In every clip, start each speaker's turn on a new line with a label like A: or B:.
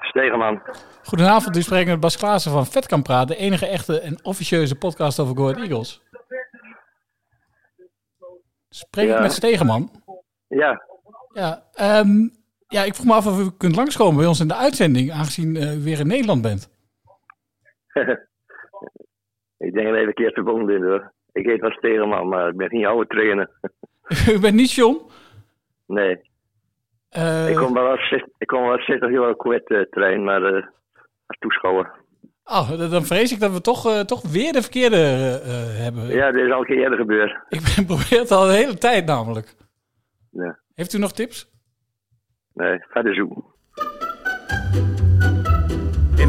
A: Stegeman.
B: Goedenavond, u spreekt met Bas Klaassen van Vet kan Praten, de enige echte en officieuze podcast over Go Ahead Eagles. Spreek ik
A: Ja.
B: met Stegeman?
A: Ja,
B: Ja, ehm, ja, ik vroeg me af of u kunt langskomen bij ons in de uitzending, aangezien eh, u weer in Nederland bent.
A: ik denk dat ik een keer verbonden ben hoor. Ik heet wel Stegeman, maar ik ben geen oude trainer.
B: u bent niet John?
A: Nee,
B: Eh,
A: ik kom wel als zes- ik kom wel als 60 euro kwijt eh trein, maar eh, als toeschouwer.
B: ah, d- dan vrees ik dat we toch, eh, toch weer de verkeerde eh, eh, hebben.
A: Ja, dit is al een keer eerder gebeurd.
B: Ik ben- probeer het al de hele tijd namelijk.
A: Ja.
B: Heeft u nog tips?
A: Nee, verder zoeken.
C: In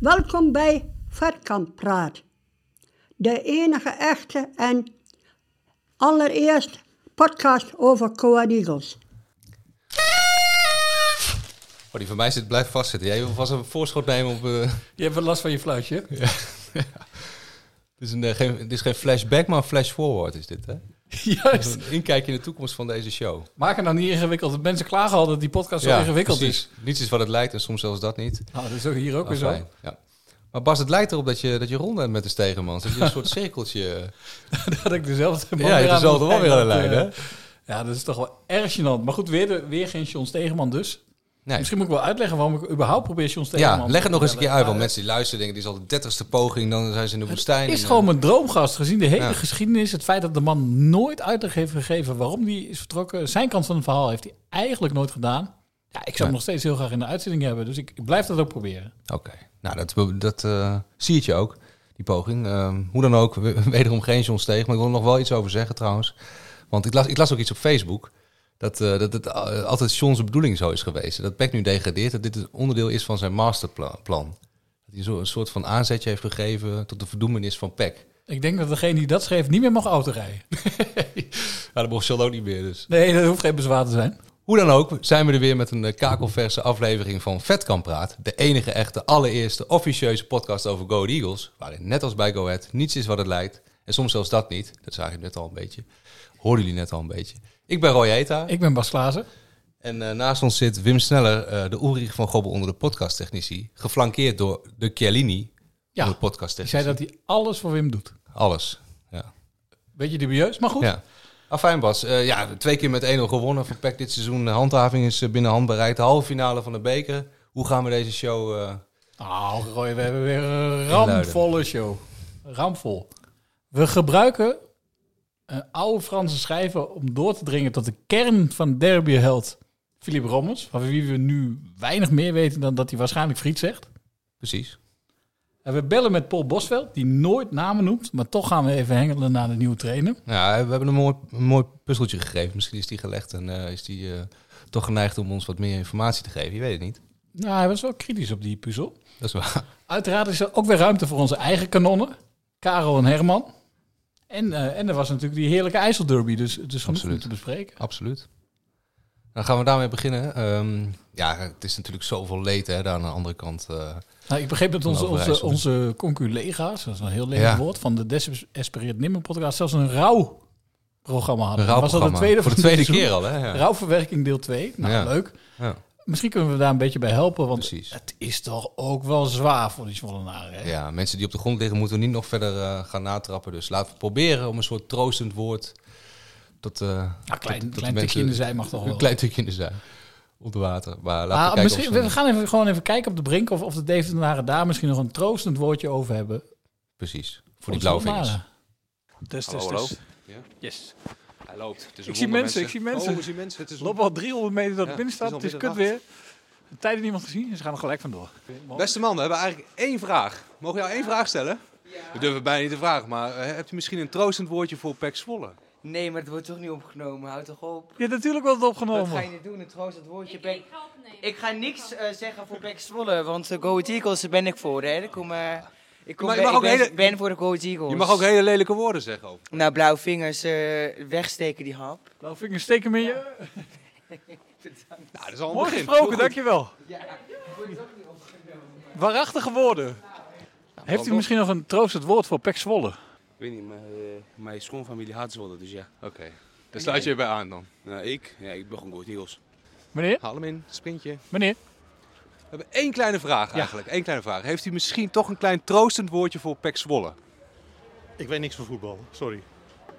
D: Welkom bij Vetkamp Praat. De enige echte en allereerst podcast over Coad Eagles.
E: Oh, die van mij zit, blijft vastzitten. Jij wil vast een voorschot nemen op... eh,
B: Je hebt wel last van je fluitje.
E: het, is een, eh, geen, het is geen flashback, maar een flash-forward is dit, hè?
B: Juist.
E: Een inkijkje in de toekomst van deze show.
B: Maak het nou niet ingewikkeld. want Mensen klagen al dat die podcast zo ingewikkeld dus. is.
E: precies. Niets is wat het lijkt en soms zelfs dat niet.
B: Nou, dat is ook hier ook weer
E: Afijn,
B: zo.
E: Ja. Maar Bas, het lijkt erop dat je, dat je rond bent met de Stegenmans. Dat je een soort cirkeltje...
B: dat ik dezelfde man
E: Ja, je
B: weer aan
E: dezelfde
B: de
E: man weer aan de
B: lijn
E: lijn,
B: had, eh. Ja, dat is toch wel erg gênant. Maar goed, weer, de- weer geen John Stegeman dus.
E: Nee.
B: Misschien moet ik wel uitleggen waarom ik überhaupt probeer John Stegeman
E: Ja,
B: te
E: leg het nog eens een keer
B: bellen.
E: uit. Want
B: Maar
E: mensen die luisteren denken, dit is al de dertigste poging. Dan zijn ze in de woestijn.
B: het is
E: En,
B: gewoon mijn droomgast. Gezien de hele
E: Ja.
B: geschiedenis, het feit dat de man nooit uitleg heeft gegeven waarom die is vertrokken. Zijn kant van het verhaal heeft hij eigenlijk nooit gedaan. Ja, ik zou hem
E: Nee.
B: nog steeds heel graag in de uitzending hebben. Dus ik, ik blijf dat ook proberen.
E: eh, Oké. Nou, dat, be- dat eh, zie het je ook, die poging. Ehm, hoe dan ook, we- wederom geen John Steeg. Maar ik wil er nog wel iets over zeggen trouwens. Want ik las, ik las ook iets op Facebook. Dat, eh, dat het eh, altijd John's bedoeling zo is geweest. Dat Peck nu degradeert. Dat dit het onderdeel is van zijn masterplan. plan. Dat hij zo een soort van aanzetje heeft gegeven tot de verdoemenis van Peck.
B: Ik denk dat degene die dat schreef niet meer mag autorijden.
E: Maar dat mocht John ook niet meer dus.
B: Nee, dat hoeft geen bezwaar te zijn.
E: Hoe dan ook, zijn we er weer met een eh, kakelverse aflevering van Vet kan Praat. De enige echte, allereerste, officieuze podcast over Go Ahead Eagles. Waarin net als bij Go Ahead niets is wat het lijkt. En soms zelfs dat niet. Dat zagen jullie net al een beetje. Hoorden jullie net al een beetje. Ik ben Roy Heta.
B: Ik ben Bas Klaassen.
E: En eh, naast ons zit Wim Sneller, eh, de Ulrich van Gobbel onder de podcasttechnici. Geflankeerd door de Chiellini
B: Ja,
E: onder de
B: Ik
E: podcasttechnici.
B: zei dat hij alles voor Wim doet.
E: Alles. Ja.
B: Beetje dubieus, maar goed.
E: Ja. Afijn Bas, Eh, ja, twee keer met 1-0 gewonnen van PEC dit seizoen. De handhaving is eh, binnen handbereid. De halve finale van de beker. Hoe gaan we deze show... eh,
B: Nou, Roy, we hebben weer een ramvolle show. Ramvol. We gebruiken een oude Franse schrijver om door te dringen tot de kern van derbyheld Philippe Rommels. Van wie we nu weinig meer weten dan dat hij waarschijnlijk friet zegt.
E: Precies.
B: En we bellen met Paul Bosveld, die nooit namen noemt. Maar toch gaan we even hengelen naar de nieuwe trainer.
E: Ja, we hebben een mooi, een mooi puzzeltje gegeven. Misschien is die gelegd en eh, is die eh, toch geneigd om ons wat meer informatie te geven. Je weet het niet.
B: Nou, hij was wel kritisch op die puzzel.
E: Dat is waar.
B: Uiteraard is er ook weer ruimte voor onze eigen kanonnen. Karel en Herman. En, eh, en er was natuurlijk die heerlijke IJsselderby. Dus het is genoeg om
E: Absoluut.
B: te bespreken.
E: Absoluut. Dan gaan we daarmee beginnen. Ehm, ja, het is natuurlijk zoveel leed hè, daar aan de andere kant. eh.
B: Nou, ik begreep dat onze, onze,
E: Overijssel.
B: onze conculega's, dat is een heel lelijk
E: Ja.
B: woord, van de Desespereerd Nimmer podcast, zelfs een rouw programma hadden.
E: Een rouwprogramma.
B: was dat de tweede
E: Voor de
B: van het
E: tweede keer
B: seizoen?
E: al, hè? Ja.
B: Rouwverwerking deel 2. Nou,
E: Ja.
B: leuk.
E: Ja.
B: Misschien kunnen we daar een beetje bij helpen, want
E: Precies.
B: het is toch ook wel zwaar voor die Zwollenaren. hè?
E: Ja, mensen die op de grond liggen moeten we niet nog verder eh, gaan natrappen. Dus laten we proberen om een soort troostend woord tot... eh,
B: Nou,
E: tot-
B: klein,
E: tot
B: klein
E: mensen-
B: tikje in de zij mag toch wel.
E: Een klein tikje in de zij. Onder water. Maar
B: Maar
E: laten we kijken
B: Ah, misschien,
E: of
B: we
E: ze-
B: gaan even, gewoon even kijken op de brink of, of de Deventenaren daar misschien nog een troostend woordje over hebben.
E: Precies. Voor die blauwe vingers.
F: Hallo, hallo. Yes.
E: Hij loopt. Het is
F: Ik zie mensen, ik zie mensen.
E: zien mensen. Het is
F: Loop al 300 meter dat
E: Ja,
F: het
E: het
F: binnen
E: is
F: staat. Het is
E: alweer
F: kut weer. De tijden niemand gezien. dus Ze gaan er gelijk vandoor.
E: Beste man, we hebben eigenlijk één vraag. Mogen we jou één vraag stellen? We durven bijna niet te vragen, maar eh, hebt u misschien een troostend woordje voor Pek Zwolle?
G: Nee, maar het wordt toch niet opgenomen? Houd toch op.
F: Ja, natuurlijk wordt het opgenomen.
G: Wat ga je nu doen? Het troost het woordje. Ik, ik, ga ik ga niks eh, zeggen voor Back Zwolle, want uh, Go Ahead Eagles daar ben ik voor. Hè. Ik, kom, eh, ik, kom,
E: Maar je
G: bij-
E: mag
G: ik
E: ook
G: ben,
E: hele-
G: ben voor de Go Ahead Eagles.
E: Je mag ook hele lelijke woorden zeggen over.
G: Nou, blauwe vingers eh, wegsteken die hap.
F: Nou, vingers steken in je.
E: Nou, dat is al een
F: Mooi
E: begin.
F: gesproken, dankjewel.
G: Ja, wordt ook niet opgenomen.
F: Waarachtige woorden. Heeft u misschien nog een troostend woord voor Pek Zwolle?
H: Ik weet niet, maar eh, mijn schoonfamilie haat Zwolle, dus ja.
E: Oké, daar sluit je bij aan dan.
H: Nou, ik? Ja, ik ben gewoon goed Eagles.
F: Meneer?
E: Haal hem in, sprintje.
F: Meneer?
E: We hebben één kleine vraag eigenlijk. Eén kleine vraag. Heeft u misschien toch een klein troostend woordje voor Pek Zwolle?
I: Ik weet niks van voetbal, sorry.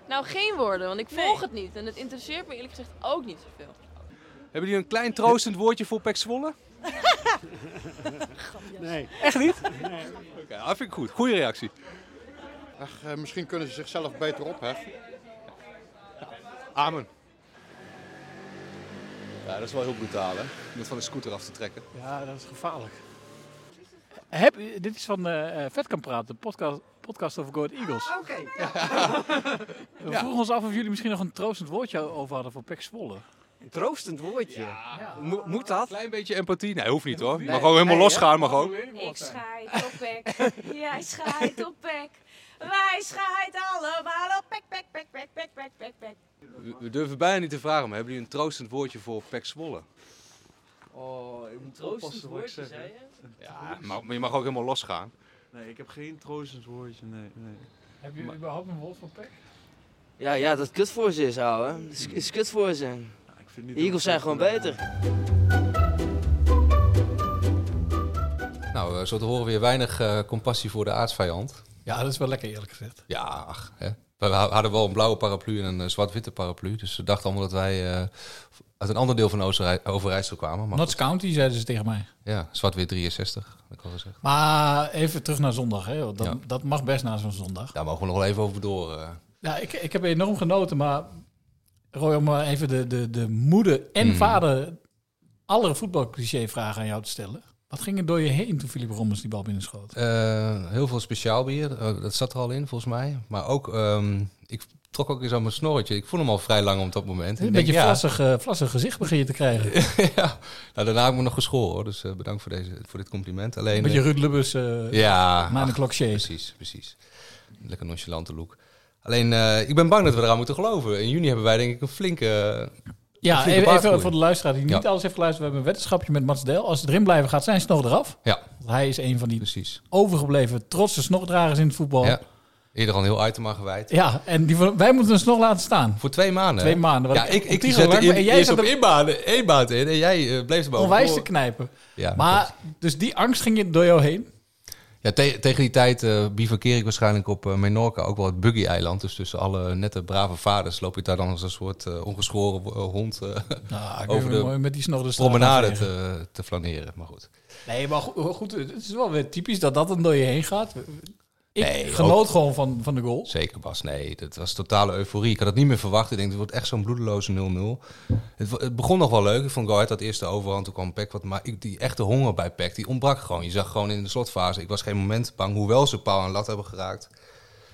J: Nou, geen woorden, want ik volg het niet. En het interesseert me eerlijk gezegd ook niet zoveel.
E: Hebben jullie een klein troostend woordje voor Pek Zwolle?
I: Nee.
E: Echt niet?
I: Nee.
E: Oké, nou, dat vind ik goed. Goede reactie.
I: Ach, eh, misschien kunnen ze zichzelf beter opheffen. Amen.
E: Ja, dat is wel heel brutaal hè, om dat van de scooter af te trekken.
F: Ja, dat is gevaarlijk. Heb, u- dit is van eh eh, Vet kan praten, podcast, podcast over Go Ahead Eagles.
G: Oké.
F: We vroegen ons af of jullie misschien nog een troostend woordje over hadden voor Pek Zwolle.
K: Een troostend woordje? Mo- moet dat?
E: Klein beetje empathie? Nee, hoeft niet hoor. Je
K: Nee.
E: mag ook helemaal
K: Nee,
E: losgaan,
K: hè?
E: mag ook.
J: Ik schijt op pek, jij schijt op pek. Wij schijten allemaal op pek, pek, pek, pek, pek, pek, pek, pek.
E: We, we durven bijna niet te vragen, maar hebben jullie een troostend woordje voor Pek Zwolle?
K: Oh, ik moet
L: Troostend
K: oppassen wat ik
L: woordje,
K: zeg.
L: zei je?
E: Ja, maar, maar je mag ook helemaal losgaan.
L: Nee, ik heb geen troostend woordje, nee, nee.
F: Heb je überhaupt een woord voor Pek?
K: Ja, ja, dat kut voor ze is, ouwe. Het is, is kut voor ze.
L: niet
K: de Eagles zijn gewoon beter.
E: Nou, eh, zo te horen weer weinig eh, compassie voor de aardsvijand.
B: Ja, dat is wel lekker eerlijk gezegd.
E: Ja, ach. Hè? We hadden wel een blauwe paraplu en een eh, zwart-witte paraplu. Dus ze dachten allemaal dat wij eh, uit een ander deel van Oosterij- Overijssel kwamen. Maar
B: Notts County zeiden ze tegen mij.
E: ja, zwart-wit 63, heb ik al gezegd.
B: Maar even terug naar zondag. Hè. want Dat,
E: Ja.
B: dat mag best na zo'n zondag.
E: Daar mogen we nog wel even over door. eh.
B: Ja, ik, ik heb enorm genoten, maar Roy, om maar even de, de, de moeder en
E: Mm.
B: vader alle voetbalcliché vragen aan jou te stellen. Wat ging er door je heen toen Philip Rommels die bal binnenschoot?
E: Eh, heel veel speciaal bier, eh, dat zat er al in volgens mij. Maar ook, ehm, ik trok ook eens aan mijn snorretje. Ik voel hem al vrij lang op dat moment.
B: Een
E: Ik
B: beetje
E: denk, ja.
B: vlassig, eh, vlassig gezicht begin je te krijgen.
E: Nou, daarna heb ik me nog geschoren, hoor. dus eh, bedankt voor, deze, voor dit compliment. Alleen,
B: Een beetje
E: eh,
B: Ruud Lubbers, eh,
E: ja,
B: Maan de
E: ach, Precies, precies. Lekker nonchalante look. Alleen, eh, ik ben bang dat we eraan moeten geloven. In juni hebben wij denk ik een flinke... eh,
B: Ja,
E: een flinke
B: even, even
E: baargroei.
B: voor de luisteraar die niet
E: Ja.
B: alles heeft geluisterd. We hebben een weddenschapje met Mats Del. Als het erin blijven gaat, zijn snor eraf.
E: Ja.
B: Want hij is een van die
E: Precies.
B: overgebleven trotse snordragers in het voetbal.
E: Ja.
B: Ja,
E: Eerder al een heel item aan gewijd.
B: en die, van- wij moeten een snor laten staan.
E: Voor twee maanden.
B: Twee
E: hè?
B: maanden. want
E: Ja, ik, ik
B: Tigo
E: zette
B: werkte-
E: in,
B: en
E: jij
B: jij
E: eerst
B: zat
E: op
B: er
E: één baan, één baan in en jij eh, bleef er boven.
B: onwijs te knijpen.
E: Ja,
B: maar dus die angst ging je door jou heen.
E: Ja, te- tegen die tijd eh bivakkeer ik waarschijnlijk op eh, Menorca, ook wel het Buggy-eiland. Dus tussen alle nette, brave vaders loop je daar dan als een soort eh, ongeschoren eh, hond eh,
B: Nou, ik
E: over
B: wil
E: de
B: mooi met die snor de straat
E: promenade
B: afvegen.
E: te, te flaneren. Maar goed.
B: Nee, maar goed, goed, het is wel weer typisch dat dat dan door je heen gaat. Ik
E: Nee,
B: genoot
E: ook-
B: gewoon van, van de goal.
E: Zeker Bas, nee, dat was totale euforie. Ik had het niet meer verwacht. Ik denk, het wordt echt zo'n bloedeloze 0-0. Het, wa- het begon nog wel leuk. Ik vond Go Ahead had eerst de overhand, toen kwam Peck wat. Maar ik, die echte honger bij Peck, die ontbrak gewoon. Je zag gewoon in de slotfase, ik was geen moment bang, hoewel ze paal en lat hebben geraakt,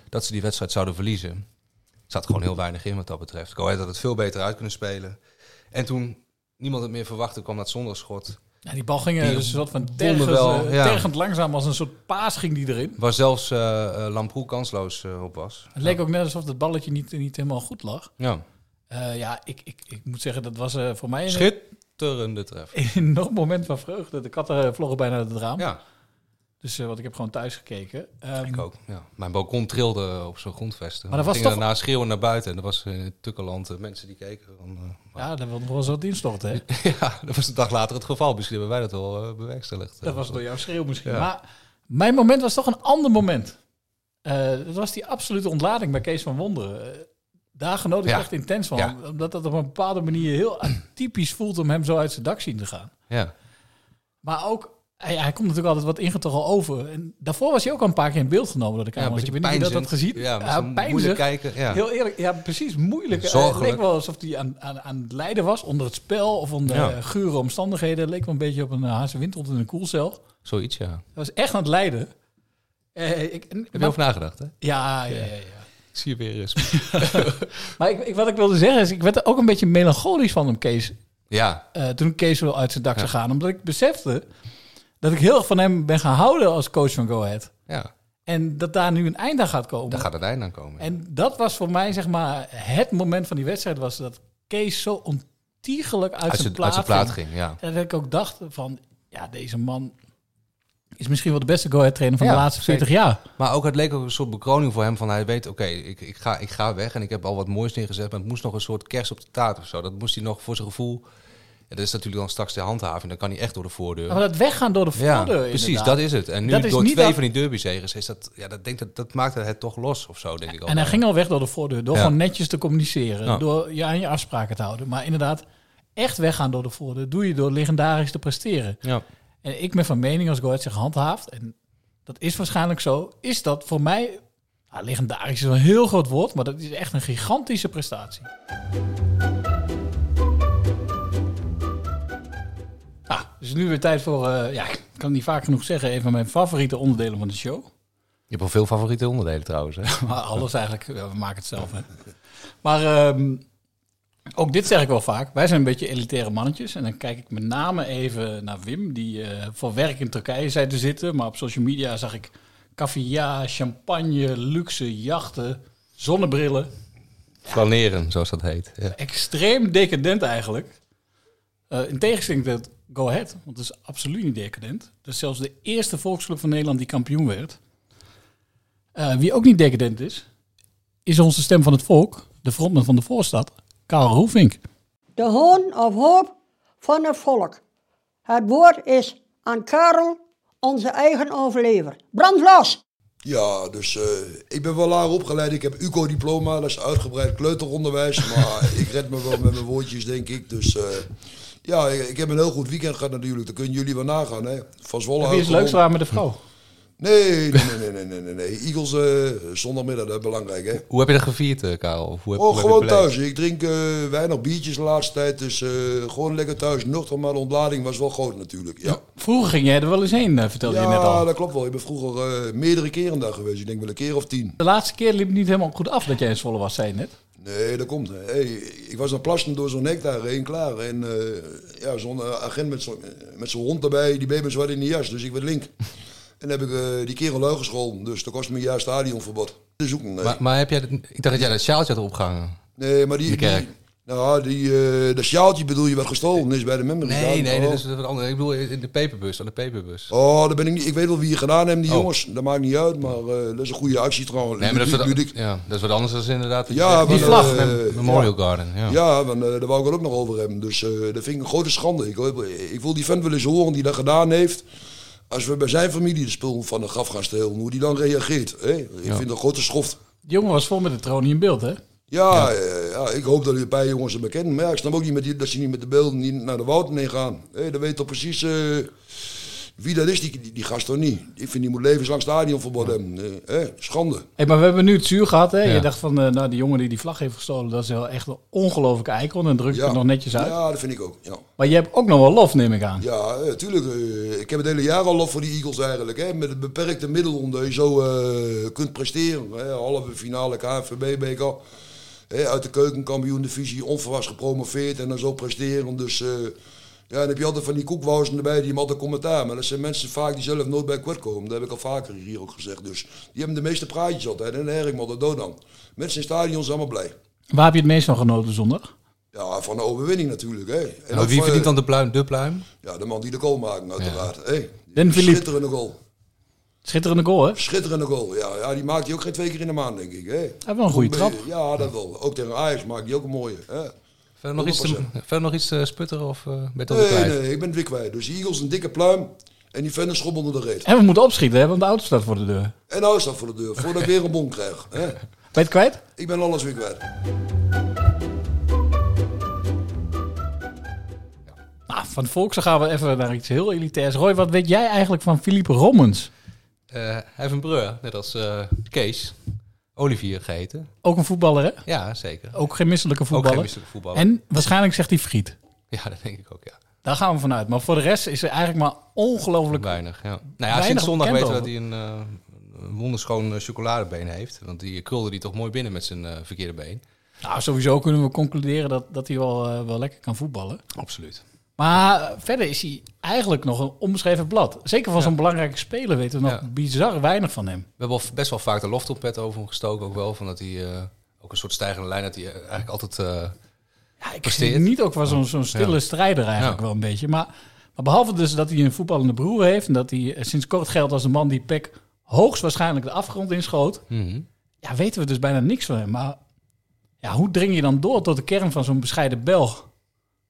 E: dat ze die wedstrijd zouden verliezen. Er zat gewoon heel weinig in wat dat betreft. Go Ahead had het veel beter uit kunnen spelen. En toen niemand het meer verwachtte, kwam dat zonderschot.
B: Ja, die bal ging eh,
E: Die
B: dus een soort van
E: donder
B: tergens,
E: wel,
B: eh,
E: ja.
B: tergend langzaam als een soort paas ging die erin.
E: Waar zelfs eh eh, Lamproe kansloos eh, op was.
B: Het leek ook net alsof het balletje niet, niet helemaal goed lag.
E: Ja.
B: Eh, ja, ik, ik, ik moet zeggen, dat was eh, voor mij een
E: Schitterende treffer.
B: enorm moment van vreugde. De katten eh, vlogen bijna uit het raam.
E: Ja.
B: Dus wat ik heb gewoon thuis gekeken. Ehm,
E: Ik ook, ja. Mijn balkon trilde op zijn grondvesten.
B: Maar
E: Maar
B: dat
E: dat
B: was
E: gingen
B: toch-
E: daarna schreeuwen naar buiten. En er was in het Tukkeland eh, mensen die keken. Van, eh,
B: Ja, daar wilde nog wel eens wat instorten. Hè?
E: ja, dat was een dag later het geval. Misschien hebben wij dat wel eh, bewerkstelligd.
B: Dat was door jouw schreeuw misschien.
E: Ja.
B: Maar mijn moment was toch een ander moment. Eh dat was die absolute ontlading bij Kees van Wonderen. Eh, daar genoot ik
E: Ja.
B: echt intens van.
E: Ja.
B: Omdat dat op een bepaalde manier heel atypisch voelt om hem zo uit zijn dak zien te gaan.
E: Ja.
B: Maar ook, hij, hij komt natuurlijk altijd wat ingetogen over. En daarvoor was hij ook al een paar keer in beeld genomen door de camera.
E: Ja, een
B: ik weet
E: beetje
B: niet of je dat had
E: peinzend.
B: gezien.
E: Ja, met zo'n
B: peinzig.
E: moeilijk kijken, ja.
B: Heel eerlijk, ja, precies, moeilijk. Eh, Het
E: Zorgelijk.
B: leek wel alsof hij aan, aan, aan het lijden was onder het spel of onder
E: Ja.
B: eh, gure omstandigheden. Het leek wel een beetje op een uh, hazenwindhond in een koelcel.
E: Zoiets, ja. Heb
B: Hij was echt aan het lijden. Eh, ik, en-
E: je
B: maar-
E: over nagedacht, hè?
B: Ja, ja, ja. ja.
E: zie je weer eens.
B: maar ik, ik- wat ik wilde zeggen is, ik werd er ook een beetje melancholisch van hem, Kees.
E: Ja.
B: Eh, toen Kees wel uit zijn dak zou gaan. Omdat ik besefte dat ik heel erg van hem ben gehouden als coach van Go Ahead.
E: Ja.
B: En dat daar nu een eind aan gaat komen.
E: Daar gaat het eind aan komen.
B: En dat was voor mij zeg maar het moment van die wedstrijd was dat Kees zo ontiegelijk uit,
E: Uit
B: zijn,
E: zijn-
B: plaat
E: uit zijn plaat ging, ja.
B: En dat ik ook dacht van, ja, deze man is misschien wel de beste go-ahead trainer van de
E: Ja,
B: laatste 40
E: zeker.
B: jaar.
E: Maar ook het leek ook een soort bekroning voor hem van hij weet, oké, ik, ik, ga, ik ga weg en ik heb al wat moois neergezet, maar het moest nog een soort kerst op de taart of zo. Dat moest hij nog voor zijn gevoel. Ja, dat is natuurlijk dan straks de handhaving, dan kan hij echt door de voordeur.
B: Maar dat weggaan door de
E: ja,
B: voordeur,
E: precies,
B: inderdaad.
E: dat is het. En nu
B: Dat is
E: door
B: niet
E: twee
B: dat-
E: van die derbyzegers is dat, ja, dat, denk dat, dat maakt het toch los of zo, denk ik ook.
B: En hij ging al weg door de voordeur, door
E: Ja.
B: gewoon netjes te communiceren,
E: Ja.
B: door je aan je afspraken te houden. Maar inderdaad, echt weggaan door de voordeur doe je door legendarisch te presteren.
E: Ja.
B: En ik ben van mening als Goethe zich handhaaft, en dat is waarschijnlijk zo, is dat voor mij, nou, legendarisch is wel een heel groot woord, maar dat is echt een gigantische prestatie. Ah, dus nu weer tijd voor, eh, ja, ik kan het niet vaak genoeg zeggen, een van mijn favoriete onderdelen van de show.
E: Je hebt al veel favoriete onderdelen trouwens. Hè?
B: Maar alles eigenlijk, ja, we maken het zelf. Hè. Maar ehm, ook dit zeg ik wel vaak. Wij zijn een beetje elitaire mannetjes. En dan kijk ik met name even naar Wim, die eh, voor werk in Turkije zei te zitten. Maar op social media zag ik caviar, champagne, luxe jachten, zonnebrillen.
E: Flaneren, zoals dat heet. Ja.
B: Extreem decadent eigenlijk. Eh, in tegenstelling tot Go Ahead, want het is absoluut niet decadent. Dat is zelfs de eerste volksclub van Nederland die kampioen werd. Eh, wie ook niet decadent is, is onze stem van het volk, de frontman van de voorstad, Karel Roefink.
D: De hoon of hoop van het volk. Het woord is aan Karel, onze eigen overlever. Brand los!
M: Ja, dus eh, ik ben wel laag opgeleid. Ik heb UCO-diploma, dat is uitgebreid kleuteronderwijs. Maar ik red me wel met mijn woordjes, denk ik. Dus eh, ja, ik, ik heb een heel goed weekend gehad natuurlijk. Daar kunnen jullie wel nagaan, hè. Van Zwolle
B: Wie is
M: uitgewonnen.
B: leuk samen met de vrouw?
M: Nee, nee, nee, nee, nee, nee, nee. Eagles eh, zondagmiddag, dat is belangrijk, hè.
E: Hoe heb je dat gevierd, eh, Karel? Of hoe heb,
M: Oh,
E: hoe heb je
M: gewoon
E: het beleefd?
M: thuis. Ik drink eh, weinig biertjes de laatste tijd. Dus eh, gewoon lekker thuis. Nuchter, maar de ontlading was wel groot natuurlijk. Ja,
B: Vroeger ging jij er wel eens heen, eh, vertelde je net
M: ja
B: al.
M: dat klopt wel. Ik ben vroeger eh, meerdere keren daar geweest. Ik denk wel een keer of tien.
B: De laatste keer liep het niet helemaal goed af dat jij in Zwolle was, zei je net.
M: Nee, dat komt. Hey, ik was aan het plassen door zo'n hek daarheen, klaar. En eh, ja, zo'n eh, agent met zo'n met zo'n hond erbij, die baby zwart in de jas. Dus ik werd link. En dan heb ik eh, die kerel lui gescholden. Dus dat kost me een jaar stadionverbod. Te zoeken. Nee,
E: Maar, maar heb jij dat, ik dacht dat jij dat sjaaltje had opgehangen.
M: nee maar die...
E: De kerk.
M: die- nou, die, eh dat sjaaltje bedoel je wat gestolen is bij de memory.
E: Nee,
M: Card.
E: nee, dat
M: Oh.
E: is wat anders. Ik bedoel, in de paperbus, aan de paperbus.
M: Oh, dat ben ik niet. Ik weet wel wie je gedaan hebt, die
E: Oh.
M: jongens. Dat maakt niet uit, maar eh, dat is een goede actie trouwens.
E: Nee, maar dat is,
M: Ludiek,
E: wat, ja, dat is wat anders dan inderdaad.
M: Ja,
E: die
M: want,
E: vlag.
M: eh,
E: Mem- Memorial
M: ja.
E: Garden. Ja.
M: Ja, want eh, daar wou ik het ook nog over hebben. Dus eh, dat vind ik een grote schande. Ik, wil- ik wil die vent wel eens horen die dat gedaan heeft. Als we bij zijn familie de spul van de graf gaan stelen, hoe die dan reageert. Hè? Ik
B: Ja.
M: vind dat een grote schoft.
B: De jongen was vol met de tronie in beeld, hè?
M: Ja, eh, ja, ik hoop dat die bij jongens hem kennen. Maar ja, ik snap ook niet met die, dat ze niet met de beelden niet naar de Wouten heen gaan. Hé, dan weet toch precies eh, wie dat is, die, die, die gast toch niet. Ik vind die moet levenslang stadionverbod hebben. Eh, eh, schande.
B: Hey, maar we hebben nu het zuur gehad, hè? Je
M: Ja.
B: dacht van, eh, nou, die jongen die die vlag heeft gestolen, dat is wel echt een ongelofelijke icon. En druk je
M: Ja.
B: het nog netjes uit.
M: Ja, dat vind ik ook. Ja.
B: Maar je hebt ook nog wel lof, neem ik aan.
M: Ja, eh, tuurlijk. eh, ik heb het hele jaar al lof voor die Eagles eigenlijk. Hè, met het beperkte middel omdat je zo eh, kunt presteren. Hè, halve finale KNVB-beker. Hè, uit de keukenkampioen-divisie onverwachts gepromoveerd en dan zo presteren. Dus eh, ja, dan heb je altijd van die koekwouzen erbij die hem altijd commentaar. Maar dat zijn mensen vaak die zelf nooit bij kwart komen. Dat heb ik al vaker hier ook gezegd. Dus die hebben de meeste praatjes altijd. En dan herring me altijd dood aan. Mensen in stadion zijn allemaal blij.
B: Waar heb je het meest van genoten zondag?
M: Ja, van de overwinning natuurlijk. Hè. En
E: Maar
M: ook
E: wie
M: van,
E: verdient
M: eh,
E: dan de pluim? De pluim?
M: Ja, de man die de goal maakt uiteraard. Hè.
B: Den Philippe.
M: Schitterende goal.
B: Schitterende goal, hè?
M: Schitterende goal, ja. ja die maakt hij ook geen twee keer in de maand, denk ik. Hè? Hij
B: heeft wel een goede trap.
M: Ja, dat wel. Ook tegen Ajax maakt hij ook een mooie. Hè?
E: Verder nog iets, te,
M: 100%.
E: verder nog iets te sputteren of eh ben je het alweer
M: Nee,
E: kwijt?
M: nee, ik ben het weer kwijt. Dus die Eagles een dikke pluim en die verder schop onder de reet.
B: En we moeten opschieten, hè? Want de auto staat voor de deur.
M: En nou is dat voor de deur, voordat ik weer een bon krijg. Hè?
B: Ben je het kwijt?
M: Ik ben alles weer kwijt.
B: Nou, van het volkse gaan we even naar iets heel elitairs. Roy, wat weet jij eigenlijk van Philippe Rommens?
E: Eh, hij heeft een breur, net als eh, Kees. Olivier geheten.
B: Ook een voetballer, hè?
E: Ja, zeker.
M: Oh.
B: Ook geen misselijke
E: Ook
B: voetballer.
E: geen misselijke voetballer.
B: En waarschijnlijk zegt hij friet.
E: Ja, dat denk ik ook, ja.
B: Daar gaan we vanuit. Maar voor de rest is er eigenlijk maar ongelooflijk
E: weinig. Ja. Nou ja,
B: weinig
E: sinds zondag
B: bekend
E: weten we dat
B: over.
E: hij een, eh, wonderschoon eh, chocoladebeen heeft. Want die krulde die toch mooi binnen met zijn eh, verkeerde been.
B: Nou, sowieso kunnen we concluderen dat, dat hij wel, eh, wel lekker kan voetballen.
E: Absoluut.
B: Maar eh, verder is hij eigenlijk nog een onbeschreven blad. Zeker van zo'n belangrijke speler weten we nog bizar weinig van hem.
E: We hebben al v- best wel vaak de loftoppet over hem gestoken ook wel. Van dat hij eh, ook een soort stijgende lijn dat hij eh, eigenlijk altijd eh ja,
B: Ik zie niet ook wel zo'n zo'n stille strijder eigenlijk wel een beetje. Maar, maar behalve dus dat hij een voetballende broer heeft... en dat hij eh, sinds kort geldt als de man die Peck hoogstwaarschijnlijk de afgrond inschoot...
E: Mhm.
B: ja, weten we dus bijna niks van hem. Maar ja, hoe dring je dan door tot de kern van zo'n bescheiden Belg?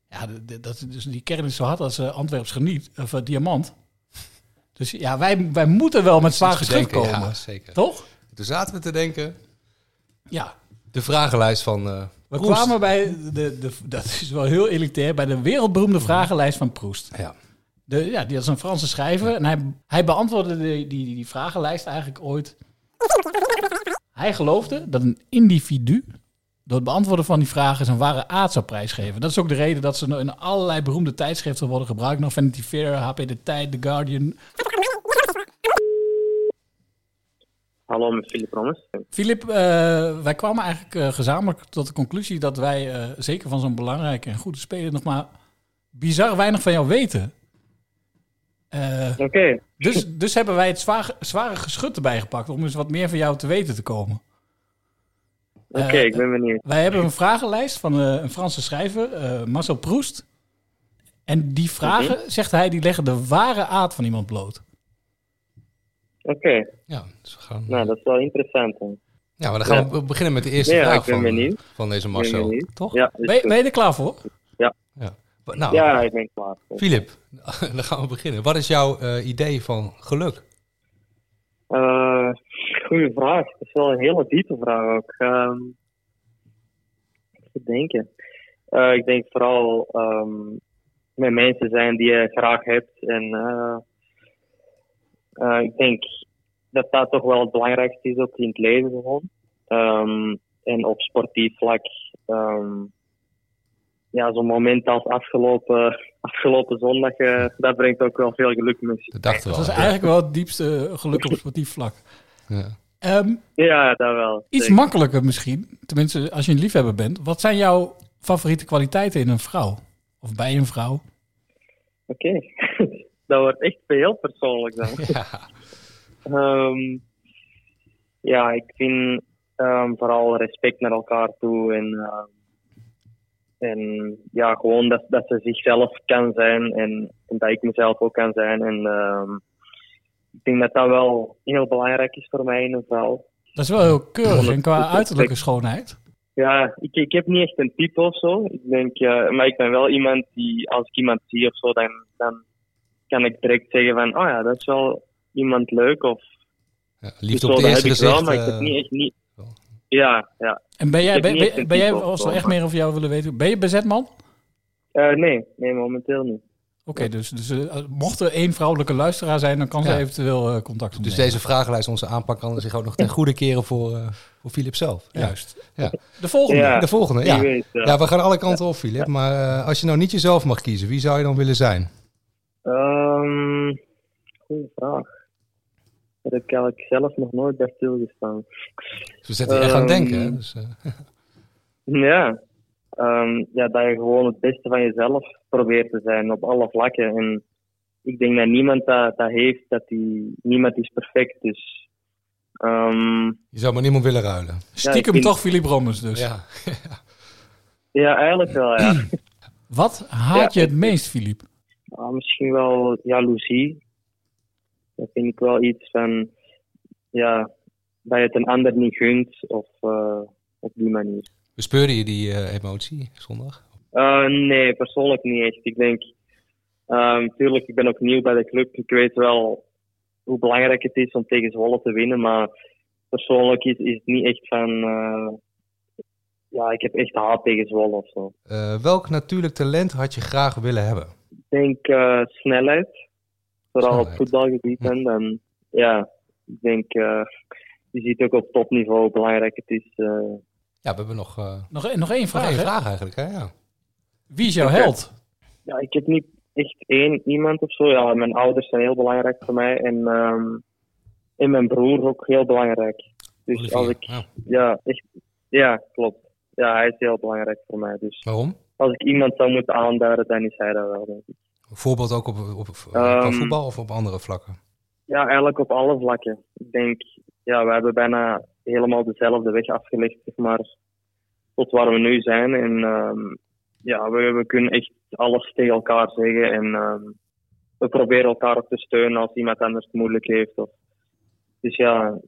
B: Ja, d- d- dat, dus die kern is zo hard als eh, Antwerps geniet, of eh, diamant. Dus ja, wij, wij moeten wel met zwaar geschut komen.
E: Dus Ja, zeker.
B: Toch?
E: Toen zaten we te denken,
B: Ja,
E: de vragenlijst van eh
B: we
E: Proest.
B: kwamen bij, de, de, dat is wel heel elitair, bij de wereldberoemde vragenlijst van Proest.
E: Ja.
B: De, ja, die was een Franse schrijver en hij, hij beantwoordde die, die, die, die vragenlijst eigenlijk ooit. Hij geloofde dat een individu door het beantwoorden van die vragen zijn ware aard zou prijsgeven. Dat is ook de reden dat ze in allerlei beroemde tijdschriften worden gebruikt. Nog Vanity Fair, HP De Tijd, The Guardian.
N: Hallo, met Philip Rommers.
B: Filip, eh, wij kwamen eigenlijk eh, gezamenlijk tot de conclusie dat wij, eh, zeker van zo'n belangrijke en goede speler, nog maar bizar weinig van jou weten. Eh, dus, dus hebben wij het zwaar, zware geschut erbij gepakt om eens wat meer van jou te weten te komen.
N: Oké,
B: Eh,
N: ik ben benieuwd.
B: Wij hebben een vragenlijst van eh, een Franse schrijver, eh, Marcel Proust. En die vragen,
N: Oké.
B: zegt hij, die leggen de ware aard van iemand bloot.
N: Oké.
E: Ja, dus
N: Nou, dat is wel interessant. Hè.
E: Ja, maar dan gaan we
N: Ja.
E: be- beginnen met de eerste
N: ja,
E: vraag
N: ik ben
E: van, eh,
N: benieuwd.
E: van deze
N: Ik ben
E: Marcel.
N: benieuwd.
E: Toch?
N: Ja, is
B: eh? Ben, je-
N: goed.
B: ben je er klaar voor?
N: Ja.
E: Ja. Wa- Nou,
N: ja, ik ben klaar.
E: Filip, dan gaan we beginnen. Wat is jouw eh, idee van geluk?
N: Eh, goeie vraag. Dat is wel een hele diepe vraag ook. Ehm even denken. Eh, ik denk vooral ehm, met mensen zijn die je graag hebt. En eh, eh, ik denk dat dat toch wel het belangrijkste is ook in het leven gewoon. Ehm, en op sportief vlak. ehm, ja, zo'n moment als afgelopen, afgelopen zondag, eh, dat brengt ook wel veel geluk met zich. Dat
E: dachten
B: Dat is eigenlijk wel het diepste geluk op sportief vlak. Ehm,
N: Ja, dat wel.
B: iets
N: Zeker.
B: makkelijker misschien, tenminste als je een liefhebber bent. Wat zijn jouw favoriete kwaliteiten in een vrouw? Of bij een vrouw?
N: Oké. dat wordt echt heel persoonlijk dan.
E: Ja,
N: Ehm, ja ik vind ehm, vooral respect naar elkaar toe. En, ehm, en ja, gewoon dat, dat ze zichzelf kan zijn. En, en dat ik mezelf ook kan zijn. En ehm, ik denk dat dat wel heel belangrijk is voor mij in een vrouw.
B: Dat is wel heel keurig en qua
N: Respect.
B: uiterlijke schoonheid.
N: Ja, ik, ik heb niet echt een type of zo. Ik denk, eh, maar ik ben wel iemand die, als ik iemand zie of zo, dan, dan kan ik direct zeggen van, oh ja, dat is wel iemand leuk. Of,
E: liefde
N: of
E: op
N: zo,
E: het
N: dat
E: eerste
N: heb ik Dus wel,
E: gezicht,
N: maar ik
E: eh,
N: heb niet echt niet... Ja, ja.
B: En ben jij,
N: Ik heb
B: ben,
N: niet echt
B: ben-
N: een
B: ben jij
N: type of
B: als we
N: zo,
B: echt
N: maar-
B: meer over jou willen weten, ben je bezetman? Oké,
N: Eh, nee, nee, momenteel niet.
B: dus, dus eh, mocht er één vrouwelijke luisteraar zijn, dan kan ze
E: Ja.
B: eventueel eh, contact opnemen.
E: Dus deze vragenlijst, onze aanpak, kan zich ook nog ten goede keren voor, eh, voor Filip zelf. Ja.
B: Juist.
E: Ja.
B: De volgende.
E: Ja, de volgende, ja.
B: Wie weet,
E: ja.
N: eh,
B: ja.
E: we gaan alle kanten op, Filip. Maar eh, als je nou niet jezelf mag kiezen, wie zou je dan willen zijn?
N: Ehm goeie vraag. Daar heb ik eigenlijk zelf nog nooit bij stilgestaan.
E: Dus we zetten je echt aan het
N: Ehm,
E: denken. Hè? Dus, eh,
N: Ja. Ehm, ja, dat je gewoon het beste van jezelf probeert te zijn op alle vlakken. En ik denk dat niemand dat, dat heeft, dat die, niemand is perfect. Dus, ehm,
E: je zou maar niemand willen ruilen.
N: Stiekem Ja, ik vind- toch
B: Filip Rommers dus.
E: Ja.
N: ja, eigenlijk wel, ja.
B: Wat haat je het meest, Filip?
N: Ah, misschien wel jaloezie. Dat vind ik wel iets van, ja, dat je het een ander niet gunt of eh, op die manier.
E: Bespeurde je die eh, emotie zondag?
N: Eh, nee, persoonlijk niet echt. Ik denk, ehm tuurlijk, ik ben ook nieuw bij de club. Ik weet wel hoe belangrijk het is om tegen Zwolle te winnen, maar persoonlijk is, is het niet echt van, eh, ja, ik heb echt haat tegen Zwolle of zo.
E: Eh, welk natuurlijk talent had je graag willen hebben?
N: Ik denk eh, snelheid, vooral op voetbalgebied. En dan, ja, ik denk, eh, je ziet ook op topniveau hoe belangrijk het is. eh.
E: Ja, we hebben nog... eh,
B: Nog, nog één vraag, hè?
E: vraag eigenlijk, hè? Ja.
B: Wie is jouw
N: Oké.
B: held?
N: Ja, ik heb niet echt één iemand of zo. Ja, mijn ouders zijn heel belangrijk voor mij. En ehm, en mijn broer ook heel belangrijk. Dus
E: Olivier,
N: als ik,
E: ja.
N: ja, echt, ja, klopt. Ja, hij is heel belangrijk voor mij. Dus
E: Waarom?
N: als ik iemand zou moeten aanduiden, dan is hij dat wel, denk ik.
E: Voorbeeld ook op, op, op
N: Ehm,
E: voetbal of op andere vlakken?
N: Ja, eigenlijk op alle vlakken. Ik denk, ja, we hebben bijna helemaal dezelfde weg afgelegd, zeg maar, tot waar we nu zijn. En ehm, ja, we, we kunnen echt alles tegen elkaar zeggen. En ehm, we proberen elkaar ook te steunen als iemand anders het moeilijk heeft. Of... Dus ja,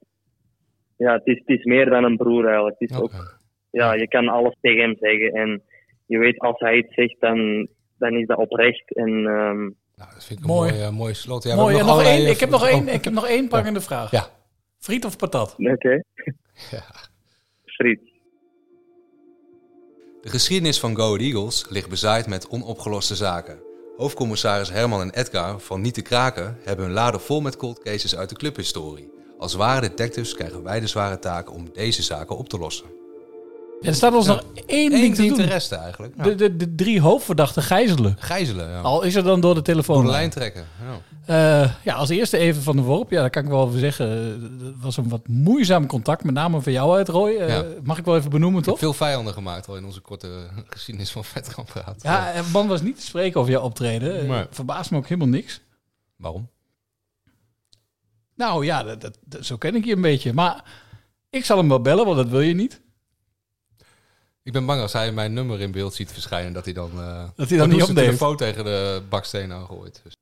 N: ja het, is, het is meer dan een broer eigenlijk. Het is ook, ja, je kan alles tegen hem zeggen. En je weet, als hij iets zegt, dan, dan is dat oprecht. En, ehm,
E: Nou, Vind ik een mooi, mooie, mooie slot. Ja, we
B: Mooi,
E: hebben
B: en nog
E: allerlei,
B: één,
E: eh,
B: ik, heb nog
E: oh.
B: één, ik heb nog één prangende vraag.
E: Ja.
B: Friet of patat?
N: Oké. Friet.
E: De geschiedenis van Go Ahead Eagles ligt bezaaid met onopgeloste zaken. Hoofdcommissaris Herman en Edgar van Niet te Kraken hebben hun laden vol met cold cases uit de clubhistorie. Als ware detectives krijgen wij de zware taak om deze zaken op te lossen.
B: Er staat ons
E: Ja.
B: nog één
E: Eén
B: ding te
E: ding
B: doen.
E: te resten eigenlijk, ja.
B: De, de, de drie hoofdverdachten gijzelen.
E: Gijzelen, ja.
B: Al is er dan door de telefoon.
E: Door de lijn trekken. Ja.
B: Eh, ja, als eerste even van de worp. Ja, daar kan ik wel over zeggen. Eh, Het was een wat moeizaam contact, met name van jou uit, Roy. Eh,
E: Ja.
B: Mag ik wel even benoemen, toch?
E: Veel vijanden gemaakt al in onze korte geschiedenis van Vetkamp praten.
B: Ja, en man was niet te spreken over jouw optreden.
E: Nee.
B: Eh, Verbaast me ook helemaal niks.
E: Waarom?
B: Nou ja, dat, dat, dat- zo ken ik je een beetje. Maar ik zal hem wel bellen, want dat wil je niet.
E: Ik ben bang als hij mijn nummer in beeld ziet verschijnen dat hij dan, eh,
B: niet
E: zijn
B: opneemt.
E: telefoon tegen de baksteen aan gooit. Dus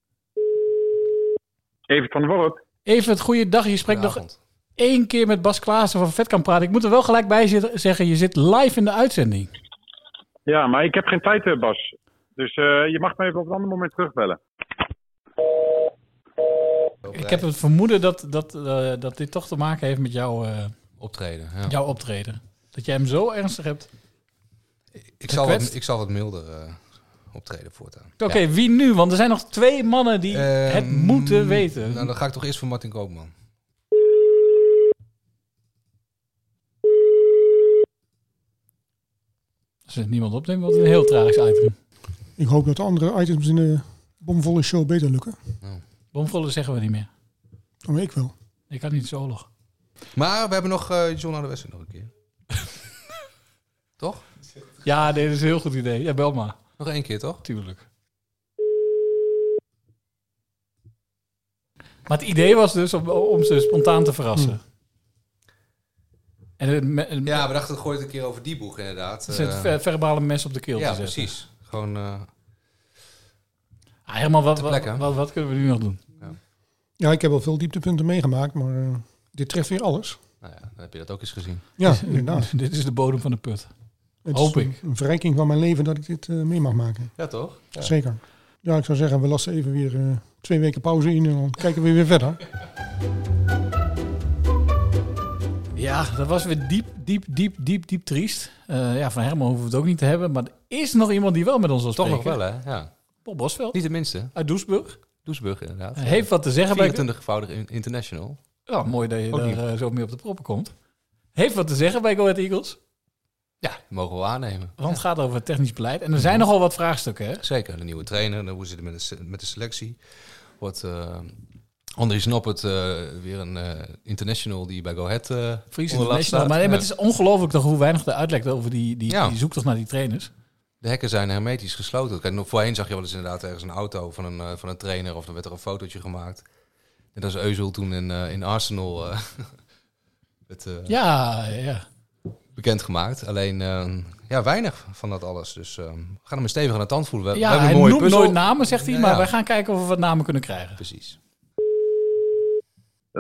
B: Even van de worp. Even het goede dag. Je spreekt nog
E: Goedenavond.
B: één keer met Bas Klaassen van Vet kan praten. Ik moet er wel gelijk bij zit- zeggen, je zit live in de uitzending.
O: Ja, maar ik heb geen tijd, eh, Bas. Dus eh, je mag me even op een ander moment terugbellen.
B: Ik heb het vermoeden dat, dat, eh, dat dit toch te maken heeft met jouw, eh,
E: optreden. Ja.
B: jouw optreden. Dat jij hem zo ernstig hebt.
E: Ik, zal
B: gekwetst.
E: wat, ik zal wat milder eh, optreden voortaan.
B: Oké, wie nu? Want er zijn nog twee mannen die
E: Ehm,
B: het moeten weten.
E: Nou, dan ga ik toch eerst voor Martin Koopman.
B: Als het niemand opneemt, wordt het een heel tragisch item.
P: Ik hoop dat de andere items in de bomvolle show beter lukken.
B: Bomvolle zeggen we niet meer.
P: Dan ik wel.
B: Ik kan niet zo oorlog.
E: Maar we hebben nog eh John Adewesse nog een keer. toch?
B: Ja, dit is een heel goed idee. Ja, bel maar.
E: Nog één keer, toch?
B: Tuurlijk. Maar het idee was dus om, om ze spontaan te verrassen. En het, me- het-
E: Hm. Ja, we dachten, gooi het een keer over die boeg inderdaad.
B: het is het
E: Eh,
B: ver- verbale mes op de keel
E: ja,
B: te zetten.
E: precies. Gewoon eh,
B: Ah, helemaal wat,
E: Ter
B: wat,
E: plekke.
B: wat, wat kunnen we nu nog doen?
P: Ja, ik heb al veel dieptepunten meegemaakt, maar eh, dit treft weer alles.
E: nou ja, dan heb je dat ook eens gezien.
P: Ja, inderdaad.
B: Dit is de bodem van de put.
P: Het
B: Hoop
P: is
B: ik.
P: een, een verrijking van mijn leven dat ik dit eh, mee mag maken.
E: Ja, toch? Ja.
P: Zeker. Ja, ik zou zeggen, we lassen even weer eh, twee weken pauze in en dan kijken we weer verder.
B: Ja, dat was weer diep, diep, diep, diep, diep triest. Eh, ja, van Herman hoeven we het ook niet te hebben. Maar er is nog iemand die wel met ons wil
E: Toch nog
B: spreken.
E: wel, hè? Ja.
B: Bob Bosveld.
E: Niet de minste.
B: Uit Doesburg.
E: Doesburg, inderdaad.
B: Hij heeft wat te zeggen bij-
E: 24-voudig in- international.
B: Ja, mooi dat je
E: Ook
B: daar
E: niet.
B: eh, zo mee op de proppen komt. Heeft wat te zeggen bij Go Ahead Eagles.
E: Mogen we aannemen.
B: Want het gaat over technisch beleid. En er zijn nogal wat vraagstukken, hè?
E: Zeker, de nieuwe trainer. en Hoe zit het met de, se- met de selectie? Wordt eh Andries Noppert eh, weer een eh, international die bij Go Ahead eh
B: Fries
E: onder last
B: International.
E: staat?
B: Maar, nee, maar
E: Ja.
B: het is ongelooflijk toch hoe weinig er uitlekt over die, die,
E: Ja.
B: die zoektocht naar die trainers.
E: De hekken zijn hermetisch gesloten. Kijk, nog voorheen zag je wel eens inderdaad ergens een auto van een, eh, van een trainer of dan werd er een fotootje gemaakt. Net als Euzel toen in, eh, in Arsenal eh werd eh,
B: Ja, ja.
E: bekendgemaakt. Alleen eh, ja, weinig van dat alles. Dus eh, we gaan hem eens stevig aan de tand voelen. We, we
B: Ja,
E: hebben
B: hij
E: een mooie
B: noemt
E: puzzel.
B: nooit namen, zegt hij.
E: Ja,
B: Maar
E: ja.
B: wij gaan kijken of we wat namen kunnen krijgen.
E: Precies.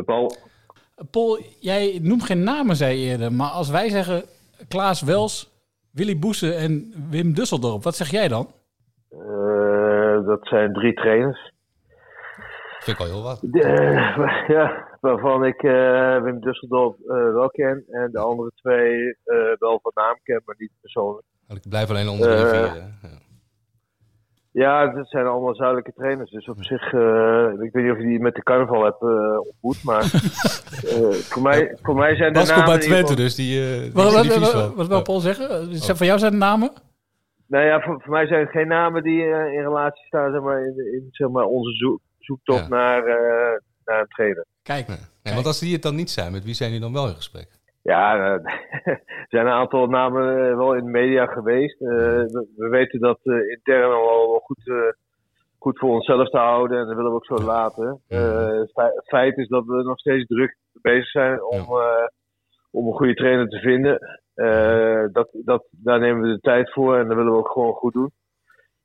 A: Paul,
B: Paul, jij noemt geen namen, zei je eerder. Maar als wij zeggen Klaas Wels, Willy Boesen en Wim Dusseldorp, wat zeg jij dan?
A: eh, dat zijn drie trainers.
E: Vind ik al heel wat.
A: Eh, wa- ja, waarvan ik eh, Wim Dusseldorp eh, wel ken. En de andere twee eh, wel van naam ken, maar niet persoonlijk.
E: Ik blijf alleen onder de
A: Eh,
E: rivier. hè.
A: Ja, het zijn allemaal zuidelijke trainers. Dus op zich, eh, ik weet niet of je die met de carnaval hebt eh, ontmoet. Maar eh, voor, mij, voor mij zijn de
E: Bas
A: namen...
E: komt bij
A: in ieder
E: Twente,
A: geval-
E: dus die, eh, die
B: Wat,
E: is er
B: wat,
E: niet
B: wat,
E: vies
B: wat,
E: van.
B: wil Paul zeggen? Eh, Van jou zijn de namen?
A: Nou ja, voor, voor mij zijn het geen namen die eh, in relatie staan zeg maar, in, in zeg maar, onze zoek- zoektocht naar, eh,
M: naar hem trainen.
B: Kijk. Nee,
M: kijk.
E: want als die het dan niet zijn, met wie zijn die dan wel in gesprek?
M: Ja, eh, er zijn een aantal namen eh, wel in de media geweest. Eh, we, we weten dat eh, intern al wel goed, eh, goed voor onszelf te houden en dat willen we ook zo laten. Eh, het fe- het feit is dat we nog steeds druk bezig zijn om, eh, om een goede trainer te vinden. Eh, dat, dat, daar nemen we de tijd voor en dat willen we ook gewoon goed doen.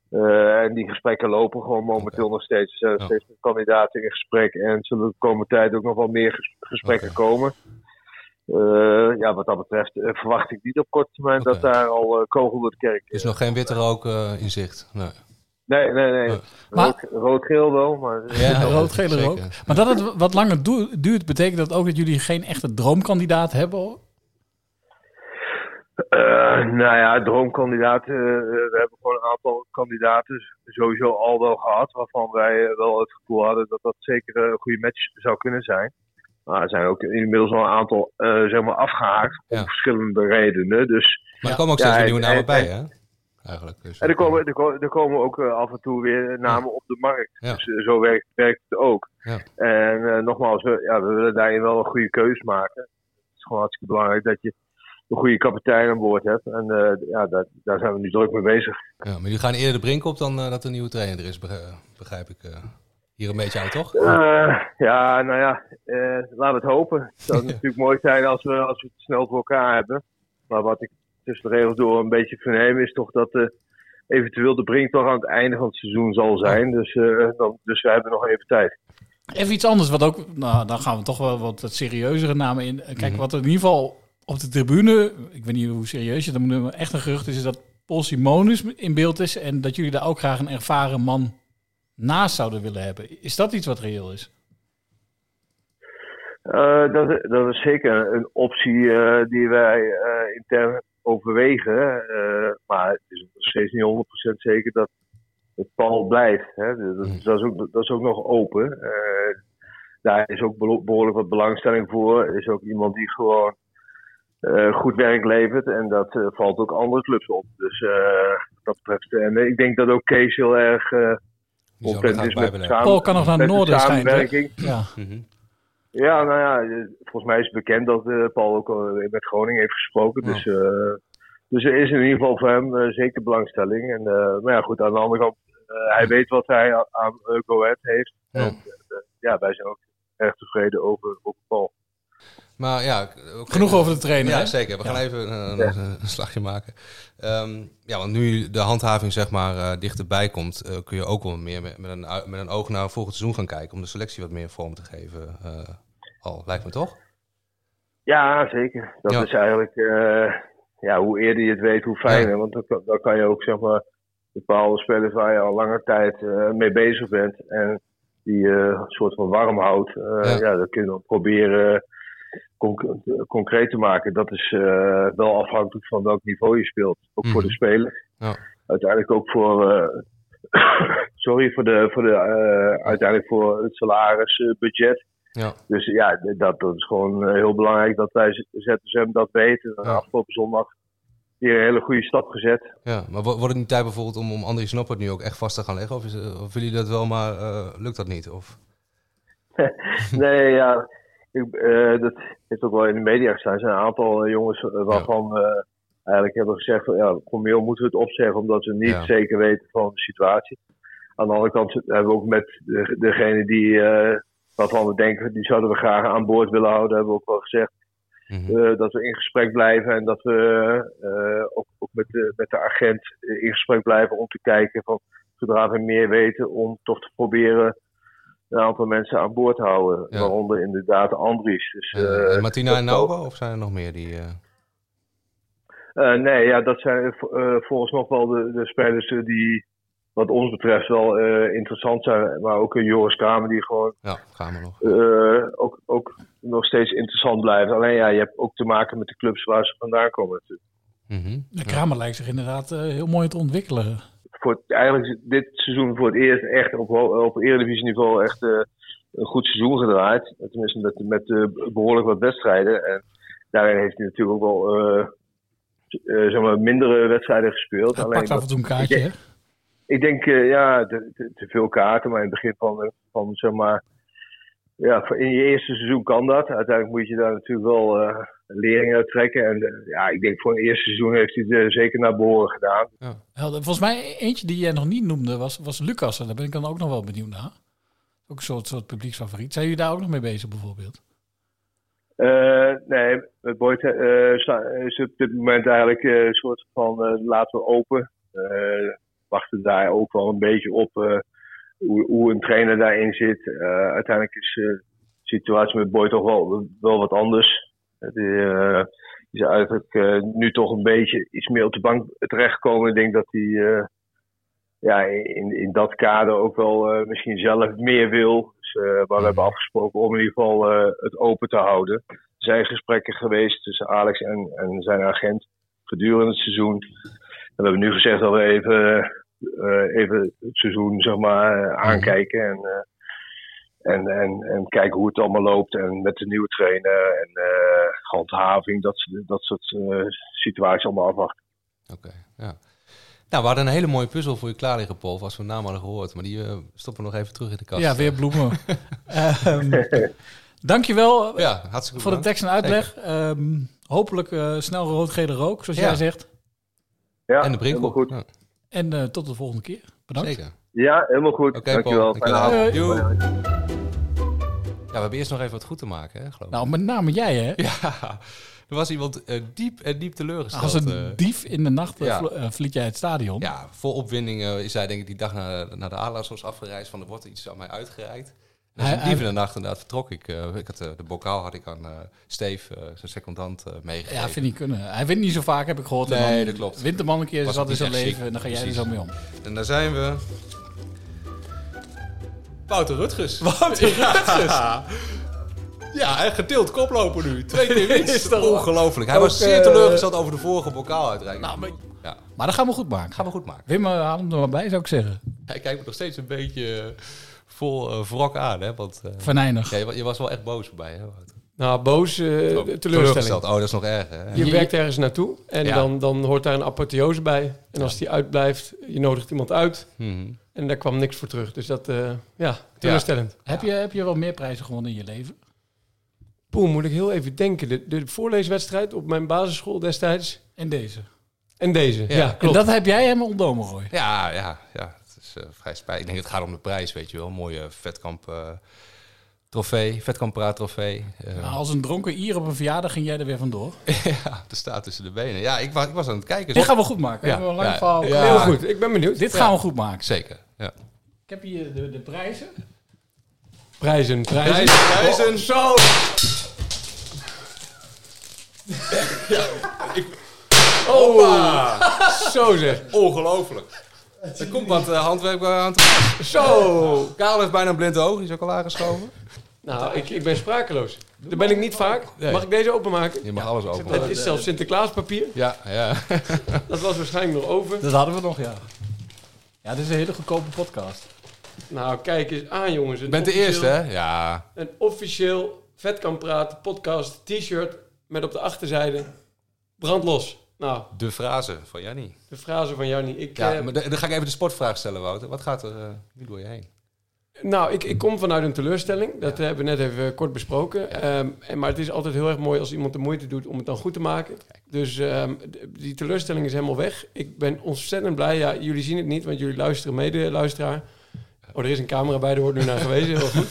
M: Eh, en die gesprekken lopen gewoon momenteel nog steeds. Er zijn nog steeds met kandidaten in gesprek en zullen de komende tijd ook nog wel meer ges- gesprekken komen. Eh, ja, wat dat betreft eh, verwacht ik niet op korte termijn dat daar al eh, kogel door de kerk
E: Dus nog geen witte rook eh, in zicht. Nee.
M: Nee, eh, nee, nee.
B: Maar-
M: Rood- Rood-geel wel, maar... eh,
B: Rood-gele rook. Maar dat het wat langer du- duurt, betekent dat ook dat jullie geen echte droomkandidaat hebben? hoor?
M: Eh, nou ja, droomkandidaten. eh, we hebben gewoon een aantal kandidaten sowieso al wel gehad. Waarvan wij eh, wel het gevoel hadden dat dat zeker eh, een goede match zou kunnen zijn. Maar er zijn ook inmiddels al een aantal eh, zeg maar afgehaakt. Om verschillende redenen. Dus,
E: Maar er komen ook steeds
M: Ja,
E: weer nieuwe
M: en-
E: namen
M: en-
E: bij,
M: en-
E: hè? Eigenlijk. Dus.
M: En er komen, er, ko- er komen ook eh, af en toe weer namen op de markt. Dus eh, zo werkt, werkt het ook.
E: Ja.
M: En eh, nogmaals, we, ja, we willen daarin wel een goede keus maken. Het is gewoon hartstikke belangrijk dat je een goede kapitein aan boord hebt. En eh, ja, daar, daar zijn we nu druk mee bezig.
E: eh, Ja, maar jullie gaan eerder de brink op dan eh, dat er een nieuwe trainer er is, beg- begrijp ik. eh. hier een beetje aan, toch?
M: Eh, ja, nou ja, eh, laten we het hopen. Het zou natuurlijk mooi zijn als we, als we het snel voor elkaar hebben. Maar wat ik tussen de regels door een beetje verneem is toch dat eh, eventueel de brink toch aan het einde van het seizoen zal zijn. Dus, eh, dan, dus we hebben nog even tijd.
B: Even iets anders, wat ook, nou, dan gaan we toch wel wat serieuzere namen in. Kijk,
M: Mhm.
B: wat er in ieder geval op de tribune, ik weet niet hoe serieus je dat moet noemen, echt een gerucht is, is dat Paul Simonus in beeld is en dat jullie daar ook graag een ervaren man naast zouden willen hebben. Is dat iets wat reëel is?
M: Eh, dat, dat is zeker een optie eh, die wij eh, intern overwegen. Eh, maar het is nog steeds niet 100% zeker dat het Paul blijft. Hè. Dus Dat, dat- dat is ook, dat is ook nog open. Eh, daar is ook belo- behoorlijk wat belangstelling voor. Er is ook iemand die gewoon eh, goed werk levert. En dat eh, valt ook andere clubs op. Dus eh, wat dat betreft. En eh, ik denk dat ook Kees heel erg eh content
B: graag
M: is
B: bij
M: met de
B: willen.
M: samen-
B: Paul kan nog naar
M: met de
B: Noorden schijnt, hè?
M: samenwerking.
B: Ja.
E: Mhm.
M: Ja, nou ja, eh, volgens mij is bekend dat eh, Paul ook al met Groningen heeft gesproken. Dus, eh, dus er is in ieder geval voor hem eh, zeker belangstelling. En, eh, maar ja, goed, aan de andere kant, eh, hij weet wat hij a- aan uh, Go Ahead heeft.
E: Ja.
M: En, eh, ja, wij zijn ook erg tevreden over, over Paul.
E: Maar ja, oké.
B: Genoeg over de trainer,
E: Ja,
B: hè?
E: zeker. We gaan
B: Ja.
E: even eh, een,
B: Ja.
E: een- een slagje maken. Ehm, ja, want nu de handhaving zeg maar eh, dichterbij komt, eh, kun je ook wel meer met, met, een, ui- met een oog naar volgend seizoen gaan kijken om de selectie wat meer vorm te geven. eh, al lijkt me toch?
M: Ja, zeker. Dat is eigenlijk, eh, ja, hoe eerder je het weet, hoe fijner. Want dan, kan- dan kan je ook, zeg maar, bepaalde spelers waar je al langer tijd eh, mee bezig bent en die eh, een soort van warm houdt, eh, ja. dat kun je dan proberen eh, conc- eh, concreet te maken. Dat is eh, wel afhankelijk van welk niveau je speelt. Ook
E: Mhm.
M: voor de speler.
E: Ja.
M: Uiteindelijk ook voor, eh, sorry, voor de, voor de, eh, uiteindelijk voor het salaris, eh, budget.
E: Ja.
M: Dus ja, d- dat, dat is gewoon eh, heel belangrijk dat wij Z- ZSM dat weten. En Afgelopen zondag hier een hele goede stap gezet.
E: Ja, maar wo- wordt het niet tijd bijvoorbeeld om, om André Snoppert nu ook echt vast te gaan leggen? Of, is, eh, of willen jullie dat wel, maar eh, lukt dat niet? Of?
M: nee, ja, ik, eh, dat heeft ook wel in de media gestaan. Er zijn een aantal eh, jongens eh, waarvan we eigenlijk hebben gezegd, van, ja, formeel moeten we het opzeggen omdat we niet
Q: Ja.
M: zeker weten van de situatie. Aan de andere kant hebben we ook met de- degene die, eh, waarvan we denken, die zouden we graag aan boord willen houden, hebben we ook wel gezegd.
E: Mhm.
M: eh, dat we in gesprek blijven en dat we eh, ook, ook met, de, met de agent eh, in gesprek blijven om te kijken van zodra we meer weten om toch te proberen een aantal mensen aan boord te houden. Waaronder inderdaad Andries. Dus,
E: En-
M: eh,
E: en Martina
M: dat
E: en
M: zal-
E: Nauba of zijn er nog meer die... eh,
M: eh, nee, ja, dat zijn eh, vo- eh, volgens nog wel de, de spelers eh, die, wat ons betreft, wel eh, interessant zijn. Maar ook een Joris Kramer die gewoon
E: ja, gaan we nog.
M: eh, ook, ook nog steeds interessant blijft. Alleen ja, je hebt ook te maken met de clubs waar ze vandaan komen. natuurlijk.
E: Mhm,
B: De Kramer lijkt zich inderdaad eh, heel mooi te ontwikkelen.
M: Voor het- eigenlijk dit seizoen voor het eerst echt op, ho- op eredivisieniveau echt eh, een goed seizoen gedraaid. Tenminste met, met eh, behoorlijk wat wedstrijden. En daarin heeft hij natuurlijk ook wel eh, eh, zeg maar mindere wedstrijden gespeeld.
B: Hij
M: Alleen
B: pakt af en
M: dat-
B: toe een
M: ik
B: kaartje,
M: denk-
B: hè?
M: Ik denk, eh, ja, te, te- te veel kaarten, maar in het begin van, van zeg maar, eh,
R: ja, voor- in je eerste seizoen kan dat. Uiteindelijk moet je daar natuurlijk wel eh, lering uit trekken. En eh, ja, ik denk voor een eerste seizoen heeft hij het eh, zeker naar behoren gedaan.
B: Helder. Volgens mij eentje die jij nog niet noemde was, was Lucas. En daar ben ik dan ook nog wel benieuwd naar. Ook een soort, soort publieksfavoriet. Zijn jullie daar ook nog mee bezig bijvoororbeeld?
R: Eh, nee, met Boyd eh, sta- is op dit moment eigenlijk eh, een soort van eh, laten we open. Eh, wachten daar ook wel een beetje op eh, hoe, hoe een trainer daarin zit. Eh, uiteindelijk is eh, de situatie met Boyd toch wel, wel wat anders. Het eh, is eigenlijk eh, nu toch een beetje iets meer op de bank terechtgekomen. Ik denk dat hij eh, ja, in, in dat kader ook wel eh, misschien zelf meer wil. Dus, eh, maar we hebben afgesproken om in ieder geval eh, het open te houden. Er zijn gesprekken geweest tussen Alex en, en zijn agent gedurende het seizoen. En we hebben nu gezegd dat we even, eh, even het seizoen zeg maar, eh, aankijken. En, eh, en, en, en kijken hoe het allemaal loopt. En met de nieuwe trainer en eh, handhaving. Dat, soort- dat soort eh, situaties allemaal afwachten.
E: Nou, we hadden een hele mooie puzzel voor je klaar liggen, Paul. Als we een naam hadden gehoord. Maar die eh, stoppen we nog even terug in de kast.
B: Ja, weer bloemen. Ehm dankjewel eh,
E: Ja, hartstikke
B: voor de
E: bedankt.
B: tekst en uitleg. Ehm, hopelijk eh, snel rood, gele rook, zoals
E: Ja.
B: jij zegt.
R: Ja,
E: en de Brinkel.
R: helemaal goed.
B: En eh, tot de volgende keer. Bedankt.
E: Zeker.
R: Ja, helemaal goed.
E: Oké,
R: Dankjewel.
E: Paul.
R: Fijne
E: Dankjewel.
R: avond.
E: Doei.
R: Hoi, hoi.
E: Ja, we hebben eerst nog even wat goed te maken, hè, geloof ik.
B: Nou, met name jij, hè?
E: Ja, er was iemand eh, diep en diep teleurgesteld.
B: Als
E: eh.
B: een dief in de nacht eh,
E: ja.
B: vlo- eh, vliet jij het stadion.
E: Ja, vol opwinding eh, is hij denk ik die dag naar, naar de Adelaarsos afgereisd. Van er wordt iets aan mij uitgereikt. Dus
B: Hij-
E: een dief
B: hij-
E: in de nacht inderdaad vertrok ik. eh, ik had, eh, de bokaal had ik aan eh, Steve, eh, zijn secondant, eh meegegeven.
B: Ja, vind ik kunnen. Hij wint niet zo vaak, heb ik gehoord. En
E: Nee,
B: dan
E: dat klopt.
B: Wint de man een keer,
E: Was
B: zat
E: ook
B: in zijn
E: niet echt
B: leven.
E: ziek.
B: En dan ga jij er
E: Precies.
B: zo mee om.
E: En daar zijn we. Wouter Rutgers.
B: Wouter
E: Ja.
B: Rutgers.
E: Ja, en gedeeld koploper nu. Twee keer
B: Is
E: winst.
B: dat-
E: Ongelooflijk. Hij
B: Ook,
E: was zeer
B: eh,
E: teleurgesteld over de vorige bokaaluitreiking.
B: Nou, maar-
E: ja.
B: Maar dat gaan we goed maken. Gaan
E: we goed maken.
B: Wim, eh, haal hem er maar bij, zou ik zeggen.
E: Hij kijkt me nog steeds een beetje eh, vol eh, wrok aan. Hè? Want, eh,
B: Venijnig.
E: ja, je, wa- je was wel echt boos bij, hè? Wouter?
M: Nou, boos, eh, teleurstelling.
E: Oh, dat is nog erger. Hè?
M: Je werkt ergens naartoe en
E: Ja.
M: dan, dan hoort daar een apotheose bij. En als die uitblijft, je nodigt iemand uit.
E: Mhm.
M: En daar kwam niks voor terug. Dus dat, eh, ja, teleurstellend.
B: Heb, je, heb je wel meer prijzen gewonnen in je leven?
M: Poeh, moet ik heel even denken. De, de voorleeswedstrijd op mijn basisschool destijds.
B: En deze.
M: En deze, ja, klopt.
B: En dat heb jij hem ontdomen, Roy.
E: Ja, ja, ja. Het is eh, vrij spijtig. Ik denk het gaat om de prijs, weet je wel. Mooie vetkamp eh, trofee, vetkamp praat trofee. Eh,
B: Nou, als een dronken Ier op een verjaardag ging jij er weer vandoor.
E: ja, er staat tussen de benen. Ja, ik was, ik was aan het kijken.
B: Dit gaan we goed maken. Hebben we een lang verhaal.
M: Heel goed, ik ben benieuwd.
B: Dit
E: Ja.
B: gaan we goed maken.
E: Zeker. Ja.
B: Ik heb hier de, de prijzen.
M: Prijzen, prijzen.
E: Prijzen, prijzen.
M: Zo!
E: Hoppa!
M: Zo zeg.
E: Ongelooflijk. Oh. Er komt wat eh, handwerk aan te pas. Zo! Karel heeft bijna een blinde oog. Die is ook al aangeschoven.
M: Nou, ik, ik ben sprakeloos. Daar ben ik niet vaak. Mag ik deze openmaken?
E: Je mag alles open.
M: Het is zelfs Sinterklaaspapier.
E: Ja, ja.
M: Dat was waarschijnlijk nog over.
B: Dat hadden we nog, ja. Ja, dit is een hele goedkope podcast.
M: Nou, kijk eens aan, jongens.
E: Je
M: Een
E: bent de
M: officieel-
E: eerste, hè? Ja.
M: Een officieel Vet kan praten podcast t-shirt met op de achterzijde brandlos. Nou,
E: De frase van Jannie.
M: de frase van Jannie. Ik,
E: Ja,
M: eh,
E: maar dan dan ga ik even de sportvraag stellen, Wouter. Wat gaat er eh, nu door je heen?
M: Nou, ik, ik kom vanuit een teleurstelling. Dat hebben we net even eh, kort besproken. Ehm, en, maar het is altijd heel erg mooi als iemand de moeite doet om het dan goed te maken. Dus ehm, d- die teleurstelling is helemaal weg. Ik ben ontzettend blij. Ja, jullie zien het niet, want jullie luisteren mede, luisteraar. Oh, er is een camera bij, daar wordt nu naar gewezen. Heel goed.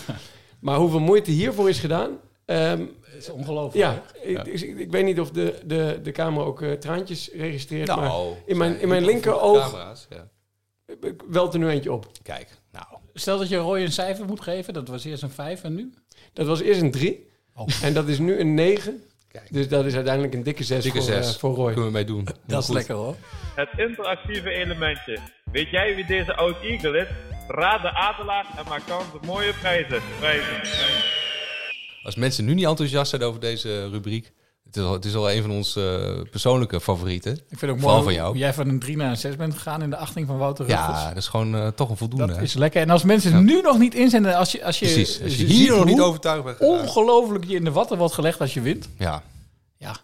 M: Maar hoeveel moeite hiervoor is gedaan... ehm,
B: Het is ongelooflijk.
M: ja, ik, ik, ik weet niet of de, de, de camera ook eh, traantjes registreert.
E: Nou,
M: maar in mijn, in
E: zijn
M: mijn
E: heel
M: linker
E: veel
M: oog
E: camera's, ja.
M: welt er nu eentje op.
E: Kijk, nou.
B: Stel dat je Roy een cijfer moet geven. Dat was eerst een 5 en nu? Oh.
M: Dat was eerst een 3. En dat is nu een 9. Dus dat is uiteindelijk een dikke 6
E: Dikke
M: voor,
E: zes.
M: eh, voor Roy.
E: Kunnen we mee doen.
B: Dat is lekker hoor.
S: Het interactieve elementje. Weet jij wie deze oud Eagle is? Raad de Adelaar en maak kans op mooie prijzen. Prijzen. prijzen.
E: Als mensen nu niet enthousiast zijn over deze rubriek. Het is al, het is al een van onze eh, persoonlijke favorieten.
B: Ik vind het ook mooi
E: Vooral
B: hoe
E: van jou.
B: jij van een 3 naar een 6 bent gegaan in de achting van Wouter Rutgers.
E: Ja, dat is gewoon eh, toch een voldoende.
B: Dat
E: hè?
B: is lekker. En als mensen nu nog niet inzenden, als je, als je,
E: Precies. Als je
B: ziet
E: hier nog
B: hoe
E: niet overtuigd bent geraakt.
B: Ongelooflijk je in de watten wordt gelegd als je wint.
E: Ja.
B: Ja.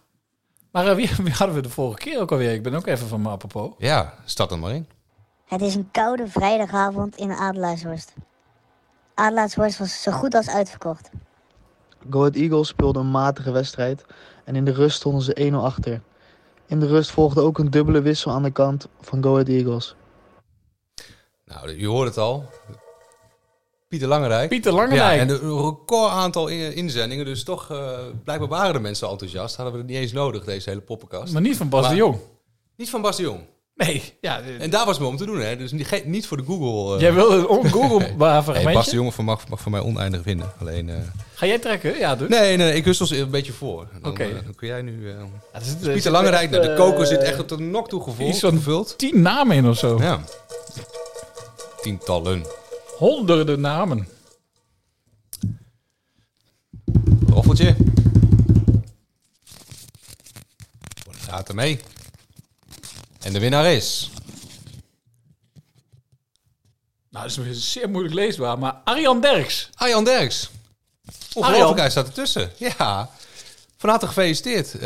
B: Maar eh, wie, wie hadden we de vorige keer ook alweer? Ik ben ook even van me apropos.
E: Ja, start dan maar in.
D: Het is een koude vrijdagavond in Adelaarshorst.
C: Adelaarshorst was zo goed als uitverkocht.
T: Go Ahead Eagles speelde een matige wedstrijd en in de rust stonden ze 1-0 achter. In de rust volgde ook een dubbele wissel aan de kant van Go Ahead Eagles.
E: Nou, je hoort het al. Pieter Langerijk.
B: Pieter Langerijk.
E: Ja, en een record aantal in- inzendingen. Dus toch, eh, blijkbaar waren de mensen enthousiast. Hadden we het niet eens nodig, deze hele poppenkast.
B: Maar niet van Bas de
E: Maar-
B: Jong.
E: Niet van Bas de Jong.
B: Nee. Ja, eh,
E: En daar was het me om te doen, hè. Dus niet, ge- niet voor de Google... eh.
B: Jij wilde een on- Google-
E: Nee.
B: maar
E: Nee,
B: fragmentje?
E: Bas de Jong mag, mag voor mij oneindig winnen. Alleen... eh,
B: Ga jij trekken? Ja, dus.
E: Nee, nee, ik wissel ze een beetje voor. Dan,
B: Oké.
E: eh, dan kun jij nu... eh
B: dat is-
E: dus
B: dat is
E: Pieter Langerijk,
B: echt,
E: nou, de koker
B: eh,
E: zit echt op de nok toe gevuld.
B: Iets van tien namen in of zo.
E: Ja. Tientallen.
B: Honderden namen. Nou,
E: Roffeltje. Wat Gaat er mee. En de winnaar is...
B: Nou, dat is zeer moeilijk leesbaar, maar Arjan Derks.
E: Arjan Derks. Ongelooflijk, hij staat ertussen. Ja. Van harte gefeliciteerd. Eh,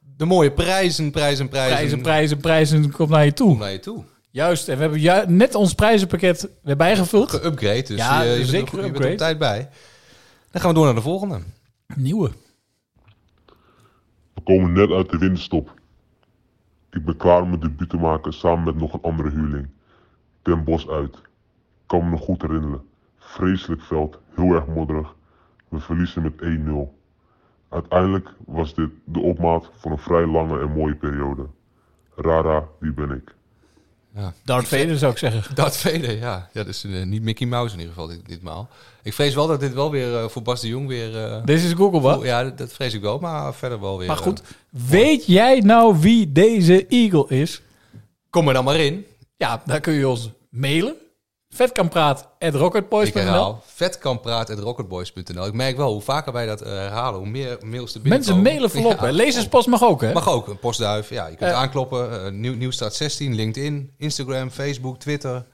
E: de mooie prijzen, prijzen, prijzen.
B: Prijzen, prijzen, prijzen, komt naar je toe.
E: naar je toe.
B: Juist, en we hebben ju- net ons prijzenpakket weer bijgevuld.
E: Geupgrade, dus
B: ja,
E: je- je,
B: zeker
E: bent, er- je bent er
B: upgrade.
E: op tijd bij. Dan gaan we door naar de volgende.
B: Nieuwe.
U: We komen net uit de winterstop. Ik ben klaar om mijn debuut te maken samen met nog een andere huurling. Den Bos uit. Ik kan me nog goed herinneren. Vreselijk veld, heel erg modderig. We verliezen met 1-0. Uiteindelijk was dit de opmaat voor een vrij lange en mooie periode. Rara, wie ben ik?
B: Darth Vader zou ik zeggen.
E: Darth Vader, ja. ja dus eh, niet Mickey Mouse in ieder geval dit, ditmaal. Ik vrees wel dat dit wel weer eh, voor Bas de Jong weer... eh,
B: Deze is Google, wat?
E: oh, Ja, dat, dat vrees ik wel, maar verder wel weer...
B: Maar goed,
E: eh,
B: weet jij nou wie deze Eagle is?
E: Kom er dan maar in.
B: Ja, daar kun je ons mailen. Vetkampraat.rocketboys.nl
E: ik herhaal, vetkampraat.rocketboys.nl. Ik merk wel, hoe vaker wij dat eh, herhalen, hoe meer mails er binnenkomen.
B: Mensen mailen volop.
E: Ja.
B: hè. Lezerspas mag ook, hè?
E: Mag ook, een postduif. Ja, je kunt
B: Eh.
E: aankloppen. eh, Nieuw, Nieuwstraat 16, LinkedIn, Instagram, Facebook, Twitter.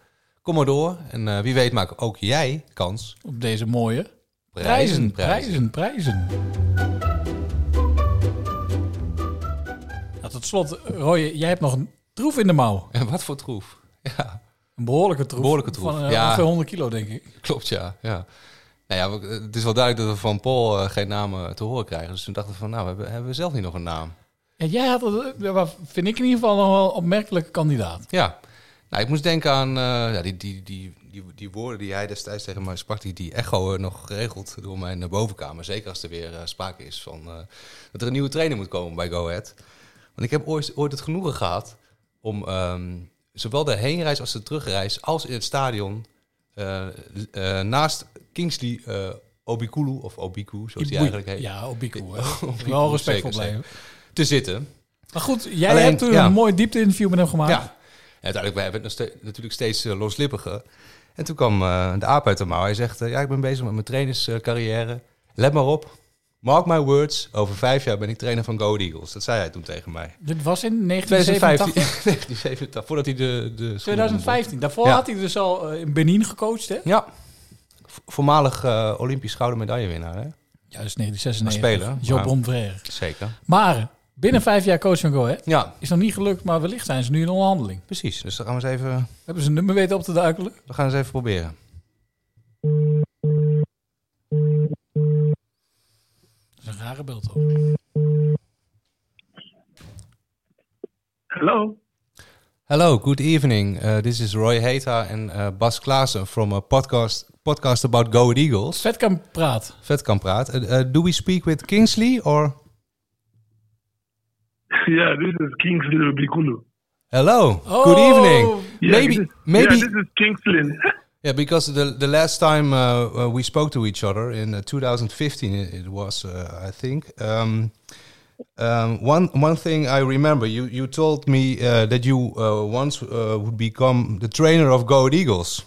E: Kom maar door. En eh, wie weet maak ook jij kans.
B: Op deze mooie
E: prijzen.
B: prijzen, prijzen, prijzen. Nou, tot slot, Roy, jij hebt nog een troef in de mouw.
E: En wat voor troef? Ja.
B: Een behoorlijke troef.
E: Behoorlijke troef,
B: Van eh,
E: ja.
B: ongeveer 100 kilo, denk ik.
E: Klopt, ja. ja. Nou ja, we- het is wel duidelijk dat we van Paul eh, geen naam eh, te horen krijgen. Dus toen dachten we van, nou, hebben, hebben we zelf niet nog een naam?
B: En jij had, het, eh, wat vind ik in ieder geval nog wel een opmerkelijke kandidaat.
E: Ja. Nou, ik moest denken aan eh, ja, die, die, die, die, die woorden die hij destijds tegen mij sprak. Die, die echo nog geregeld door mijn eh, bovenkamer. Zeker als er weer eh, sprake is van eh, dat er een nieuwe trainer moet komen bij Go Ahead. Want ik heb ooit, ooit het genoegen gehad om ehm, zowel de heenreis als de terugreis... als in het stadion eh, eh, naast Kingsley eh Obikulu of Obiku, zoals hij
B: Oei,
E: eigenlijk heet.
B: Ja, Obiku. hè.
E: Obiku,
B: wel respectvol
E: zeker,
B: blijven.
E: zeker. Te zitten.
B: Maar goed, jij
E: Alleen,
B: hebt toen
E: ja.
B: een mooi diepte-interview met hem gemaakt.
E: Ja. En uiteindelijk, wij hebben het nog ste- natuurlijk steeds eh, loslippiger. En toen kwam eh, de aap uit de mouw. Hij zegt, eh, ja, ik ben bezig met mijn trainerscarrière. Let maar op. Mark my words. Over vijf jaar ben ik trainer van Go Ahead Eagles. Dat zei hij toen tegen mij.
B: Dit was in
E: 2015.
B: 1987.
E: 1987, voordat hij de... de
B: 2015. Daarvoor
E: Ja.
B: had hij dus al eh, in Benin gecoacht, hè?
E: Ja. Vo- Voormalig eh, Olympisch gouden medaillewinnaar, hè?
B: Juist 1996.
E: Speler.
B: Job
E: maar-
B: Omvreer.
E: Zeker.
B: Maar binnen vijf jaar coach van Go Ahead.
E: Ja.
B: Is nog niet gelukt, maar wellicht zijn ze nu in onderhandeling.
E: Precies. Dus dan gaan we eens even,
B: Hebben ze een nummer weten op te duikelen?
E: we gaan eens even proberen.
B: Dat is een rare beeld ook.
R: Hello.
E: Hello, good evening. Uh, this is Roy Heta and uh, Bas Klaassen from a podcast podcast about Go Ahead Eagles.
B: Vet kan praat.
E: Vet kan praat. Uh, uh, do we speak with Kingsley or
R: Yeah, this is Kingsley Obikulu.
E: hello? Good evening.
R: Oh, Yeah,
E: maybe
R: this is-
E: maybe
R: Yeah, this is Kingsley.
E: Yeah, because the the last time uh, uh, we spoke to each other in uh, 2015, it, it was, uh, I think. Um, um, one one thing I remember, you you told me uh, that you uh, once uh, would become the trainer of Go Ahead Eagles.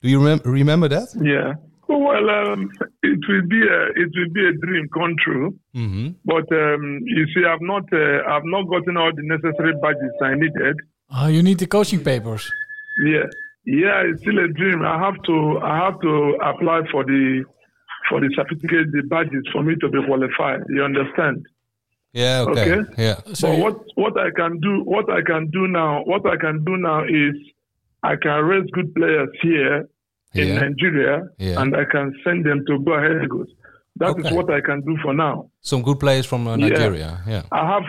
E: Do you remem- remember that?
R: Yeah. Well, um, it will be a it will be a dream come true.
E: Mm-hmm.
R: But um, you see, I've not uh, I've not gotten all the necessary badges I needed.
B: Ah, you need the coaching papers.
R: Yeah, yeah, it's still a dream. I have to I have to apply for the for the certificate, the badges for me to be qualified. You understand?
E: Yeah. Okay.
R: Okay.
E: Yeah.
R: but what what I can do what I can do now what I can do now is I can raise good players here
M: in
V: Yeah.
M: Nigeria,
E: Yeah.
M: and I can send them to go ahead. That is what I can do for now.
E: Some good players from uh,
M: Yeah.
E: Nigeria. Yeah.
M: I have,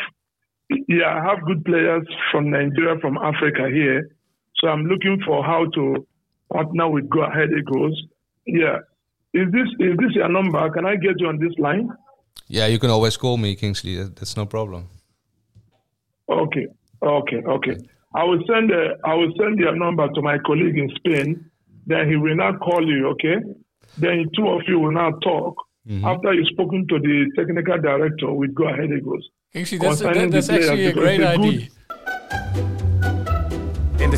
M: yeah, I have good players from Nigeria, from Africa here. So I'm looking for how to partner with Go Ahead Eagles. Yeah, is this is this your number? Can I get you on this line?
E: Yeah, you can always call me, Kingsley. That- That's no problem.
M: Okay, okay, okay. I will send uh, I will send your number to my colleague in Spain. Then he will not call you. Okay. Then two of you will now talk. After you've spoken to the technical director with Go Ahead Eagles.
B: Kingsley, that's-
M: Concerning
B: that's
M: the players,
B: actually a
M: because
B: great
M: it's a good
B: idea.
W: In de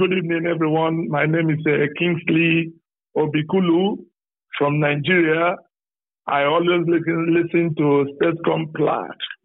M: Good evening, everyone. My name is uh, Kingsley Obikulu from Nigeria. I always listen, listen to Statcom Plat.